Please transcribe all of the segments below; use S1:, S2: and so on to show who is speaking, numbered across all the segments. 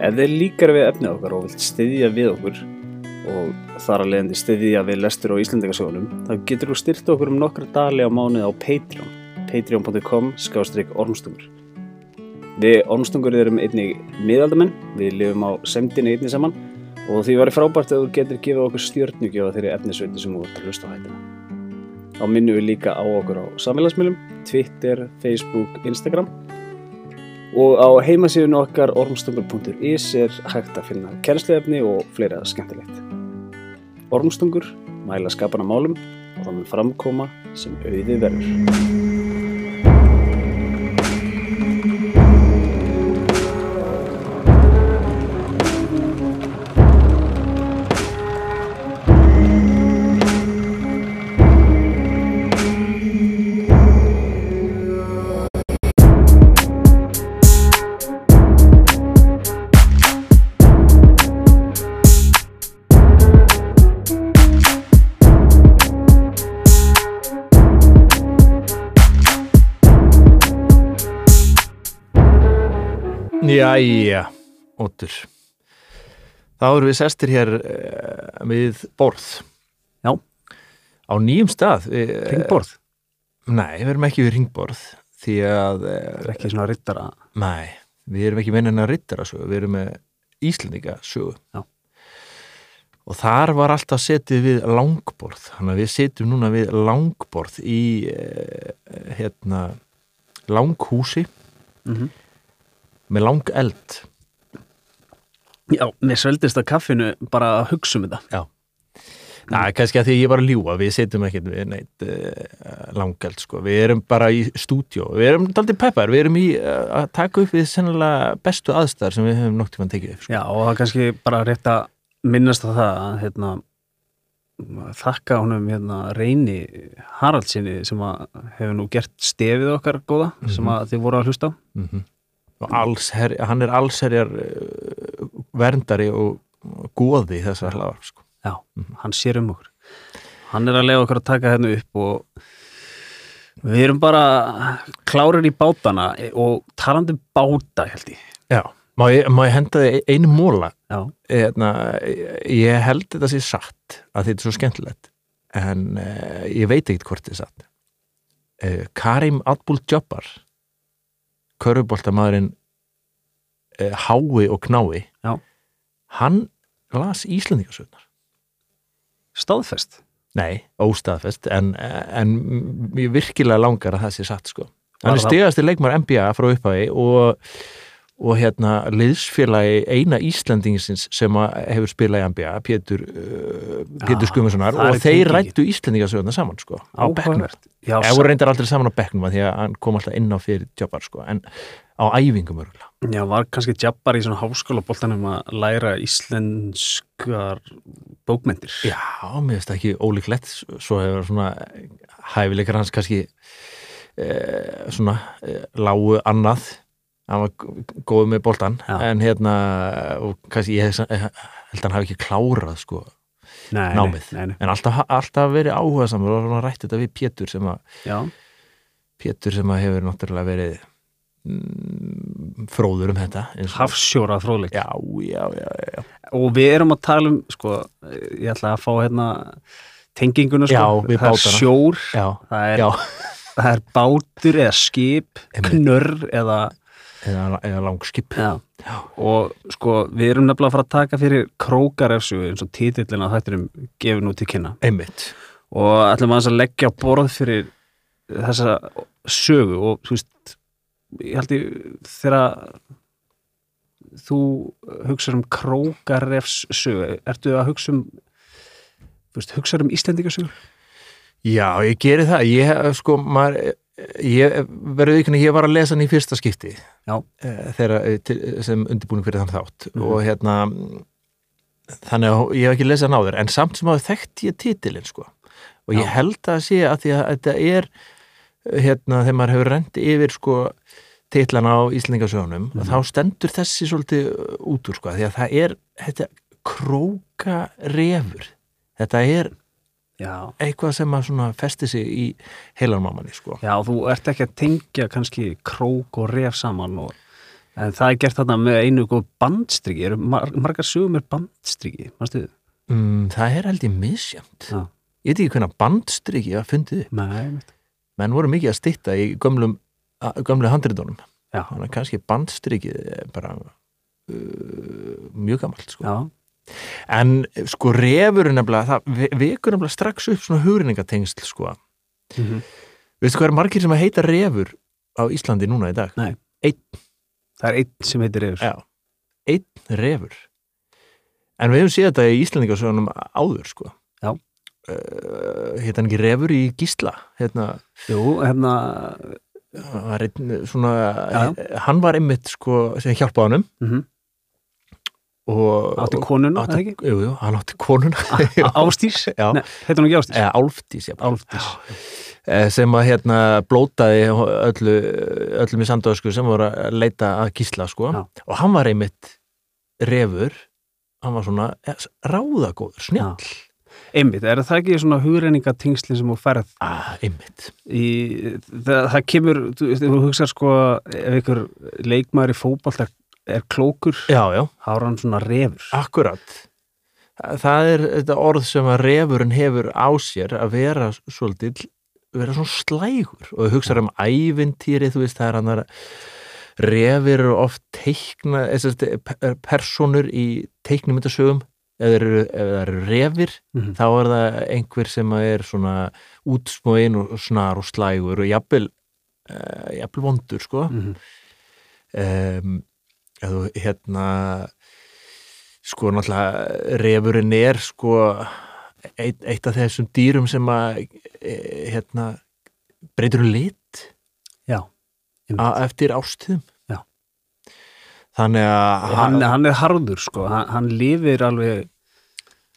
S1: Ef þið líkar við efnið okkar og vilt styðja við okkur og þar að leiðandi styðja við lestur og íslendingasögunum, þá getur þú styrt okkur um nokkra dali á mánuði á Patreon, patreon.com skástrík ormstungur. Við ormstungur erum einnig miðaldamenn, við lifum á semdina einnig saman og því væri frábært að þú getur gefið okkur stjörnugjöfa þeirri efnisveiti sem þú ert að lusta á hættina. Þá minnum við líka á okkur á samfélagsmiðlum, Twitter, Facebook, Instagram og á heimasíðun okkar ormstungur.is er hægt að finna kennsluefni og fleira skemmtilegt. Ormstungur mæla skapana málum og það mun framkoma sem auði verður.
S2: Jæja, óttur Þá erum við sestir hér uh, við borð
S1: Já.
S2: Á nýjum stað við, eh,
S1: Ringborð,
S2: Nei, við erum ekki við ringborð Því
S1: það
S2: að uh,
S1: er eh, ekki svona rittara.
S2: Nei, við erum ekki meina en að rittara sögu Við erum með Íslendinga sögu
S1: Já.
S2: Og þar var alltaf setið við langborð Þannig að við setjum núna við langborð í uh, hérna langhúsi
S1: Mhm.
S2: með lang eld
S1: Já, mér sveldist að kaffinu bara að hugsa um þetta.
S2: Næ, kannski að því að ég var að ljúa, við setjum ekkert við neitt uh, langeld, sko. Við erum bara í stúdjó, við erum daldið peppar, við erum í uh, að taka upp við sennilega bestu aðstæðar sem við höfum nokt tímann tekið upp, sko.
S1: Já, og það er kannski bara rétt að minnast á það að hérna, þakka honum hérna, reyni Haraldsinni sem að hefur nú gert stefið okkar góða sem að þið voru að hlusta á.
S2: Mm Og allsher, hann er allsherjar uh, verndari og og goði þessar hlaðar, sko.
S1: Já, hann sér um okkur Hann er að lega okkur að taka hérna upp og við erum bara klárir í bátana og talandi um báta held ég
S2: Já, má ég, má ég henda þið einu móla?
S1: Já,
S2: Eðna, hérna, ég held þetta sé satt, að þetta er svo skemmtilegt, en uh, ég veit ekkert hvort þetta er satt. Uh, Karim Atbúl Jobbar, körfuboltamaðurinn uh, Hái og Knái,
S1: Já.
S2: hann las Íslendingasögnar.
S1: stáðfest
S2: Nei, óstaðfest, en, en mér virkilega langar að það sé satt sko. Hann er
S1: það-
S2: stegasti leikmar NBA frá upphæði og, og hérna liðsfélagi eina Íslendingsins sem að hefur spilað í NBA, Pétur, uh, Pétur
S1: Já,
S2: Skumasonar
S1: Ah, það er
S2: og þeir
S1: tengingin.
S2: rættu Íslendingasöðuna saman sko, á bekknum.
S1: Áhugavert. Já,
S2: Ég voru reyndar aldrei saman á bekknum að því að hann kom alltaf inn á fyrir jobbar sko, en á æfingum örgulega.
S1: sa- já, var kannski jabbar í svona háskóla bóltanum að læra íslenskar bókmentir
S2: Já, mér finnst það ekki ólíklegt svo hefur svona hæfileikar hans kannski eh, svona eh, lágu annað hann var g- góður með boltan
S1: Já.
S2: en hérna og kannski ég hef- eh, held að hann hafi ekki klárað sko,
S1: nei,
S2: námið
S1: nei, nei, nei.
S2: en alltaf, alltaf verið áhuga samur og svona rætt þetta við Pétur sem að
S1: Já,
S2: Pétur sem að hefur náttúrulega verið mm, fróður um þetta eins og-
S1: hafsjórað fróðleik
S2: Já, já, já, já,
S1: og við erum að tala um sko, ég ætla að fá hérna tenginguna sko,
S2: Já, við
S1: það er
S2: bátana.
S1: sjór
S2: já,
S1: það er
S2: já.
S1: það er bátur eða skip,
S2: Einmitt.
S1: knörr eða,
S2: Eða, eða langskip
S1: já. og sko við erum nefnilega að fara að taka fyrir krókarefsu eins og titillin að þættinum gefur nú til kynna
S2: einmitt
S1: og ætlum aðeins að leggja á borð fyrir þessa sögu og þú veist ég held ég þegar þú hugsar um krókarefs sögu, ertu að hugsa um þú veist, hugsar um Íslendingasögu?
S2: Já, ég geri það. Ég, eh, sko, maður, eh, ég verður ykkur að ég var að lesa hann í fyrsta skipti
S1: Já.
S2: eh, þegar, eh, til, sem undirbúning fyrir þann þátt
S1: Mhm.
S2: og hérna mm, þannig að ég hef ekki lesað hann áður en samt sem að þekkt ég titilin sko og ég
S1: Já.
S2: held að sé að því að þetta er eh, hérna þegar maður hefur rent yfir sko titlana á Íslingasögunum
S1: Mhm.
S2: mm þá stendur þessi svolítið út úr sko því að það er þetta króka refur þetta er
S1: Já.
S2: eitthvað sem að svona festi sig í heilanmámanni sko.
S1: Já, þú ert ekki að tengja kannski krók og ref saman og En það er gert þarna með einu góð bandstriki, eru mar margar sögum er bandstriki, mannstu þið?
S2: mm, það er held ég misjæmt
S1: Já.
S2: ég veit ekki hvernig bandstriki að fundið upp.
S1: Nei, einmitt.
S2: menn voru mikið að stitta í gömlum a- gömlu handritunum
S1: Já.
S2: þannig að kannski bandstrikið er bara uh, mjög gamalt sko.
S1: já,
S2: en eh, sko refurinn nefnilega, það ve- vekur nefnilega strax upp svona hugrinningatengsl sko.
S1: Mhm.
S2: veistu hvað er margir sem að heita refur á Íslandi núna í dag?
S1: Nei. það er einn sem heitir yfir.
S2: Já, einn refur en við hefum séð þetta í Íslandingasögunum áður sko
S1: Já.
S2: Eh, hét hann ekki refur í Gísla hérna,
S1: Jú, hérna,
S2: hann var einn, eh, svona,
S1: Já,
S2: hann var einmitt sko sem hjálpaði honum
S1: mm -hmm.
S2: og,
S1: átti konuna,
S2: átti-
S1: það ekki?
S2: jú, jú, hann átti konuna
S1: Á- Ástís?
S2: Já.
S1: Nei, heitir hún ekki Ástís?
S2: eða Álftís jafnvel.
S1: Álftís.
S2: Eh, sem að hérna blótaði öllu, öllum í samdöðsku sem voru að leita að gísla sko
S1: Já.
S2: og hann var einmitt refur hann var svona eh, ráðagóður, snjall
S1: Einmitt, er það ekki svona hugreiningatengslin sem þú færð
S2: ah, einmitt
S1: í, það, það kemur, þú, veist, ef þú hugsar sko ef einhver leikmaður í fótball er, er klókur,
S2: já, já,
S1: þá er hann svona refur.
S2: akkurat það er þetta orð sem að refurinn hefur á sér að vera svolítið vera svona slægur og hugsa um ævintýri, þú veist, það er hann að refir eru oft teikna eh, þessi, personur í teiknumyndasögum ef þeir eru- ef það eru refir
S1: Mhm.
S2: þá er það einhver sem að er svona útsmóin og snar og slægur og jafnvel uh, jafnvel vondur sko
S1: Mhm.
S2: um, eða hérna sko náttúrulega refurinn er sko eitt, eitt af þessum dýrum sem að eh, hérna breytur um lit
S1: Já, einmitt.
S2: a- eftir ástíðum
S1: Já.
S2: þannig að
S1: Og hann, hann er harður sko, hann, hann lifir alveg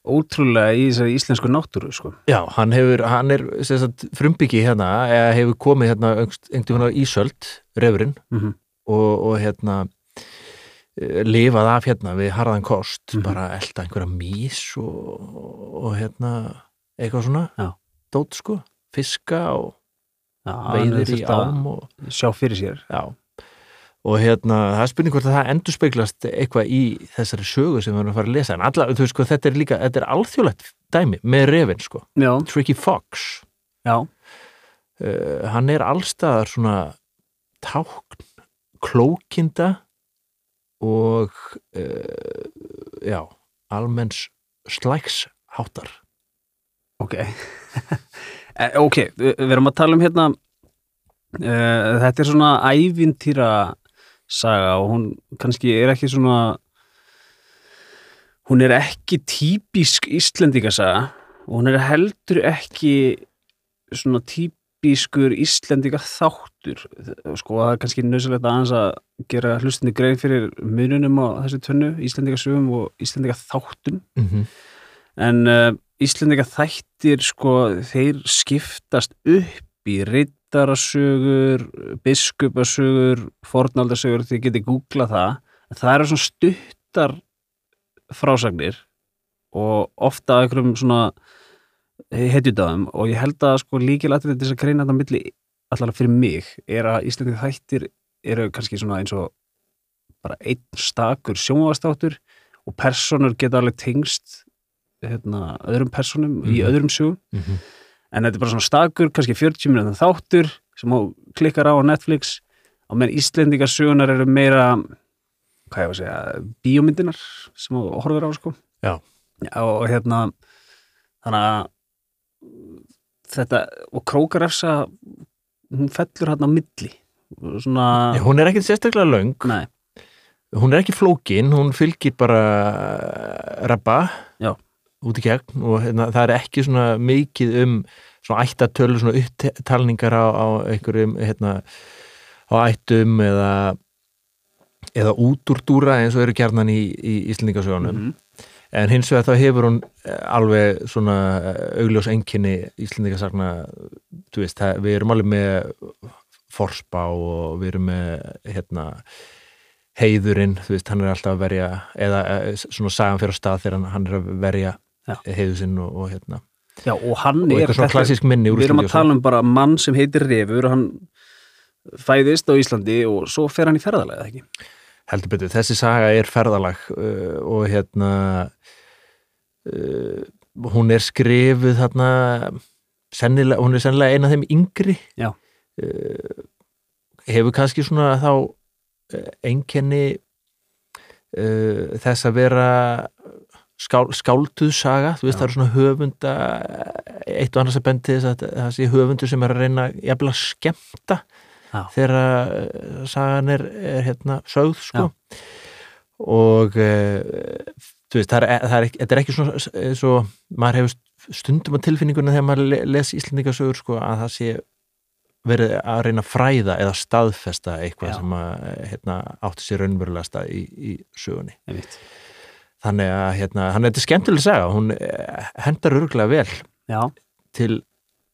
S1: ótrúlega í þessari íslensku náttúru sko.
S2: Já, hann hefur, hann er sem sagt, frumbyggi hérna, eða hefur komið hérna einhvern veginn á Ísöld, refurinn
S1: Mhm.
S2: og, og hérna eh, lifað af hérna við harðan kost,
S1: Mhm.
S2: bara elda einhverja mís og, og hérna eitthvað svona,
S1: Já.
S2: dót sko fiska og
S1: Já, hann er
S2: veiðir í
S1: þurft að
S2: ám og,
S1: sjá fyrir sér.
S2: já og hérna, það er spurning hvort að það endur speglast eitthvað í þessari sögu sem við erum að fara að lesa, en alla, þú veist sko, þetta er líka þetta er alþjóðlegt dæmi með refin sko
S1: Já,
S2: Tricky Fox
S1: já,
S2: uh, hann er allstaðar svona tákn klókinda og uh, já, almenns slæksháttar
S1: ok. Eh, ok, við við erum að tala um hérna, uh, þetta er svona ævintýra saga og hún kannski er ekki svona, hún er ekki típisk íslendingasaga og hún er heldur ekki svona típiskur íslendinga þáttur. Sko það er kannski nöðsilegt aðeins að gera hlustinni grein fyrir mununum á þessu tönnu, íslendingasögum og íslendinga þáttum
S2: mm -hmm.
S1: en uh, Íslendinga þættir sko, þeir skiptast upp í rittarasögur biskupasögur fornaldasögur, þið getið googlað það það eru svona stuttar frásagnir og ofta af einhverjum svona hetjudáðum og ég held að sko líkilatrið til þess að greina þetta á milli allavega fyrir mig er að Íslendinga þættir eru kannski svona eins og bara einn stakur sjónvastáttur og personur geta alveg tengst hérna, öðrum personum í
S2: Mhm.
S1: öðrum sögum
S2: Mm -hmm.
S1: en þetta er bara svona stakur, kannski 40 minútur þáttur sem þú klikkar á á Netflix á meðan Íslendingasögunar eru meira hvað ég var að segja, bíómyndinar sem þú horfir á sko
S2: Já.
S1: og hérna þannig að þetta, og Krókarefsa hún fellur hérna á milli svona,
S2: hún er ekkit sérstaklega löng
S1: nei,
S2: hún er ekki flókin, hún fylgir bara rabba
S1: Já.
S2: út í gegn og hérna, það er ekki svona mikið um svona ættatölu, svona upptalningar á, á einhverjum hérna, á ættum eða eða útúrdúra eins og eru gerðan í, í Íslendingasögunum
S1: Mhm.
S2: en hins vegar þá hefur hún eh, alveg svona eh, augljós enginni Íslendingasagna þú veist, það, við erum alveg með forspá og við erum með hérna heiðurinn, þú veist, hann er alltaf að verja eða eh, svona sagan fyrir á stað þegar hann, hann er að verja
S1: Já.
S2: heiðu sinn og, og hérna
S1: já, og hann
S2: og
S1: er
S2: eitthvað svona
S1: þetta-
S2: klassísk minni úr
S1: Við erum að
S2: Íslandi og
S1: tala um bara mann sem heitir Refur og hann fæðist á Íslandi og svo fer hann í ferðalega, ekki?
S2: svona. heldur betur, þessi saga er ferðalag uh, og hérna uh, hún er skrifuð þarna sennilega, hún er sennilega eina af þeim yngri
S1: Já.
S2: uh, hefur kannski svona þá uh, einkenni uh, þess að vera skál, skálduð saga, þú veist
S1: Já.
S2: það eru svona höfunda eitt og annars að bendi þess að það sé höfundur sem er að reyna jafnilega að skemmta
S1: Já.
S2: þegar eh, sagan er, er hérna sögð sko og uh, þú veist, það er, það er, ekki- þetta er ekki svona eh, svo, maður hefur stundum á tilfinninguna þegar maður le- les Íslendingasögur sko, að það sé verið að reyna að fræða eða staðfesta eitthvað
S1: Já.
S2: sem að, eh, hérna, átti sér raunverulega stað í, í sögunni
S1: einmitt.
S2: þannig að hérna, hann þetta er skemmtileg saga hún eh, hendar örgulega vel
S1: Já,
S2: til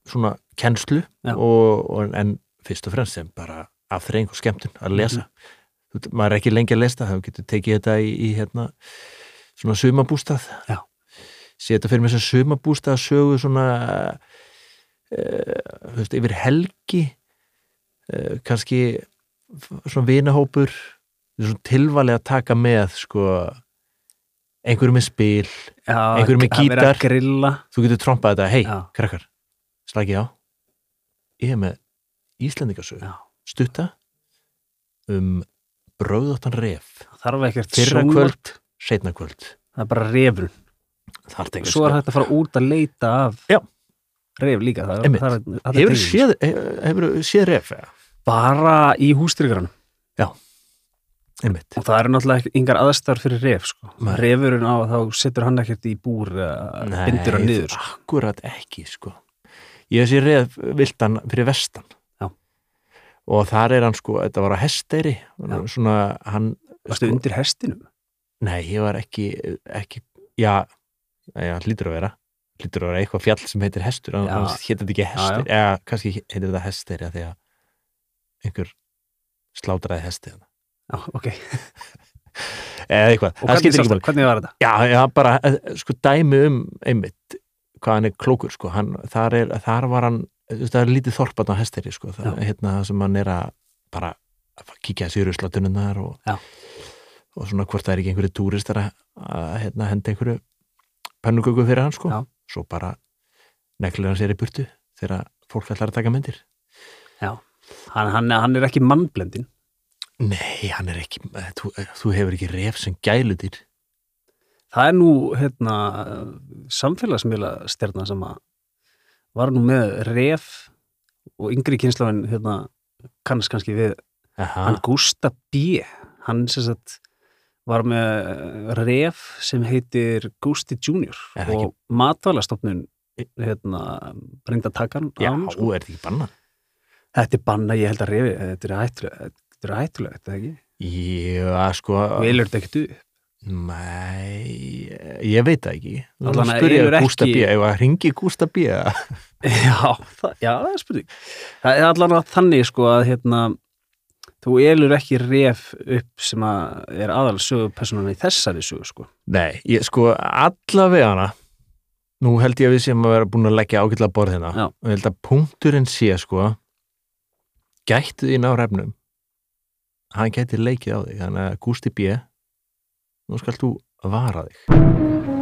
S2: svona kennslu
S1: Já.
S2: og, og, en fyrst og fremst sem bara afþreying og skemmtun að lesa mm maður er ekki lengi að lesa það getur tekið þetta í, í hérna, svona sumabústað
S1: Já.
S2: setja fyrir mér sem sumabústað að sögu svona uh, veist, yfir helgi uh, kannski f- svona vinahópur svona tilvalið að taka með sko einhverjum með spil
S1: já
S2: Einhver með
S1: að vera að
S2: gítar.
S1: grilla
S2: þú getur trompað þetta, hei,
S1: Já.
S2: krakkar slagið á ég er með Íslendingasögu
S1: Já.
S2: stutta um bröðóttan ref
S1: þarf ekkert
S2: fyrra
S1: sjónvarp,
S2: kvöld, setna kvöld
S1: það er bara refur
S2: þar
S1: svo er hægt að fara út að leita af
S2: Já.
S1: ref líka það,
S2: Einmitt.
S1: það, er- það er
S2: hefur
S1: tenging.
S2: séð, hefur séð ref ja.
S1: bara í hústryggranum
S2: einmitt,
S1: og það eru náttúrulega ekki- engar aðstæður fyrir ref sko.
S2: Nei.
S1: refurinn á þá setur hann ekkert í búr eða
S2: Nei,
S1: bindur hann niður sko.
S2: akkurat ekki sko ég hef séð ref viltan fyrir vestan
S1: Já.
S2: og þar er hann sko, þetta var á hesteri
S1: Já.
S2: svona, hann
S1: Varstu
S2: sko-
S1: undir hestinum?
S2: Nei, ég var ekki, ekki já, já, hlýtur að vera hlýtur að vera eitthvað fjall sem heitir hestur
S1: Já.
S2: annars heitir þetta ekki hestur eða kannski heitir þetta hestur eða því að einhver slátraði hesti þarna.
S1: Já, ok.
S2: eða eitthvað,
S1: Og
S2: það
S1: hvernig,
S2: skiptir
S1: sást,
S2: ekki
S1: það?
S2: máli
S1: hvernig var þetta?
S2: já, já, bara, eh, sko, dæmi um einmitt, hvað hann er klókur sko, hann, þar, er, þar var hann þú veist, það er lítið þorpan á hesteri sko, það, hérna, það sem hann er að bara að kíkja þessi ruslatununnar og,
S1: Já.
S2: og svona hvort það er ekki einhverju túristar að, að hérna, henda einhverju pönnugöku fyrir hann sko.
S1: Já.
S2: svo bara neglir hann sér í burtu þegar fólk ætlar að taka myndir
S1: Hann, hann, hann er ekki mannblendin.
S2: nei, hann er ekki þú, þú hefur ekki ref sem gælutir
S1: Það er nú hérna, samfélagsmiðla stjarnar sem að var nú með ref og yngri kynslafinn hérna, kannast kannski við hann
S2: Aha,
S1: Gústa B. Hann sem sagt var með ref sem heitir Gústi Junior
S2: Er það
S1: og matvælastofnun hérna, reynda að taka hann
S2: já,
S1: hann, sko.
S2: sko. er þetta ekki bannað
S1: Þetta er banna, ég held að refi, þetta er hættulegt, þetta er hættulegt, þetta er ekki?
S2: já, sko
S1: Velur þetta ekkert upp?
S2: Nei, ég veit það ekki Þú
S1: Allan
S2: erum að
S1: að
S2: spyrja
S1: Elur
S2: Gústa
S1: ekki-
S2: B ef að ringi Gústa B eða?
S1: Já, það, já, það er spurning. Það er allan að þannig sko að hérna, þú elur ekki ref upp sem að er aðal sögupersonana í þessari sögu sko.
S2: Nei, ég, sko allavega hana Nú held ég að við séum að vera búin að leggja ágætla borð hérna
S1: Já.
S2: og ég held að punkturinn sé sko gættu þín á refnum hann gæti leikið á þig þannig að Gústi B nú skalt þú vara þig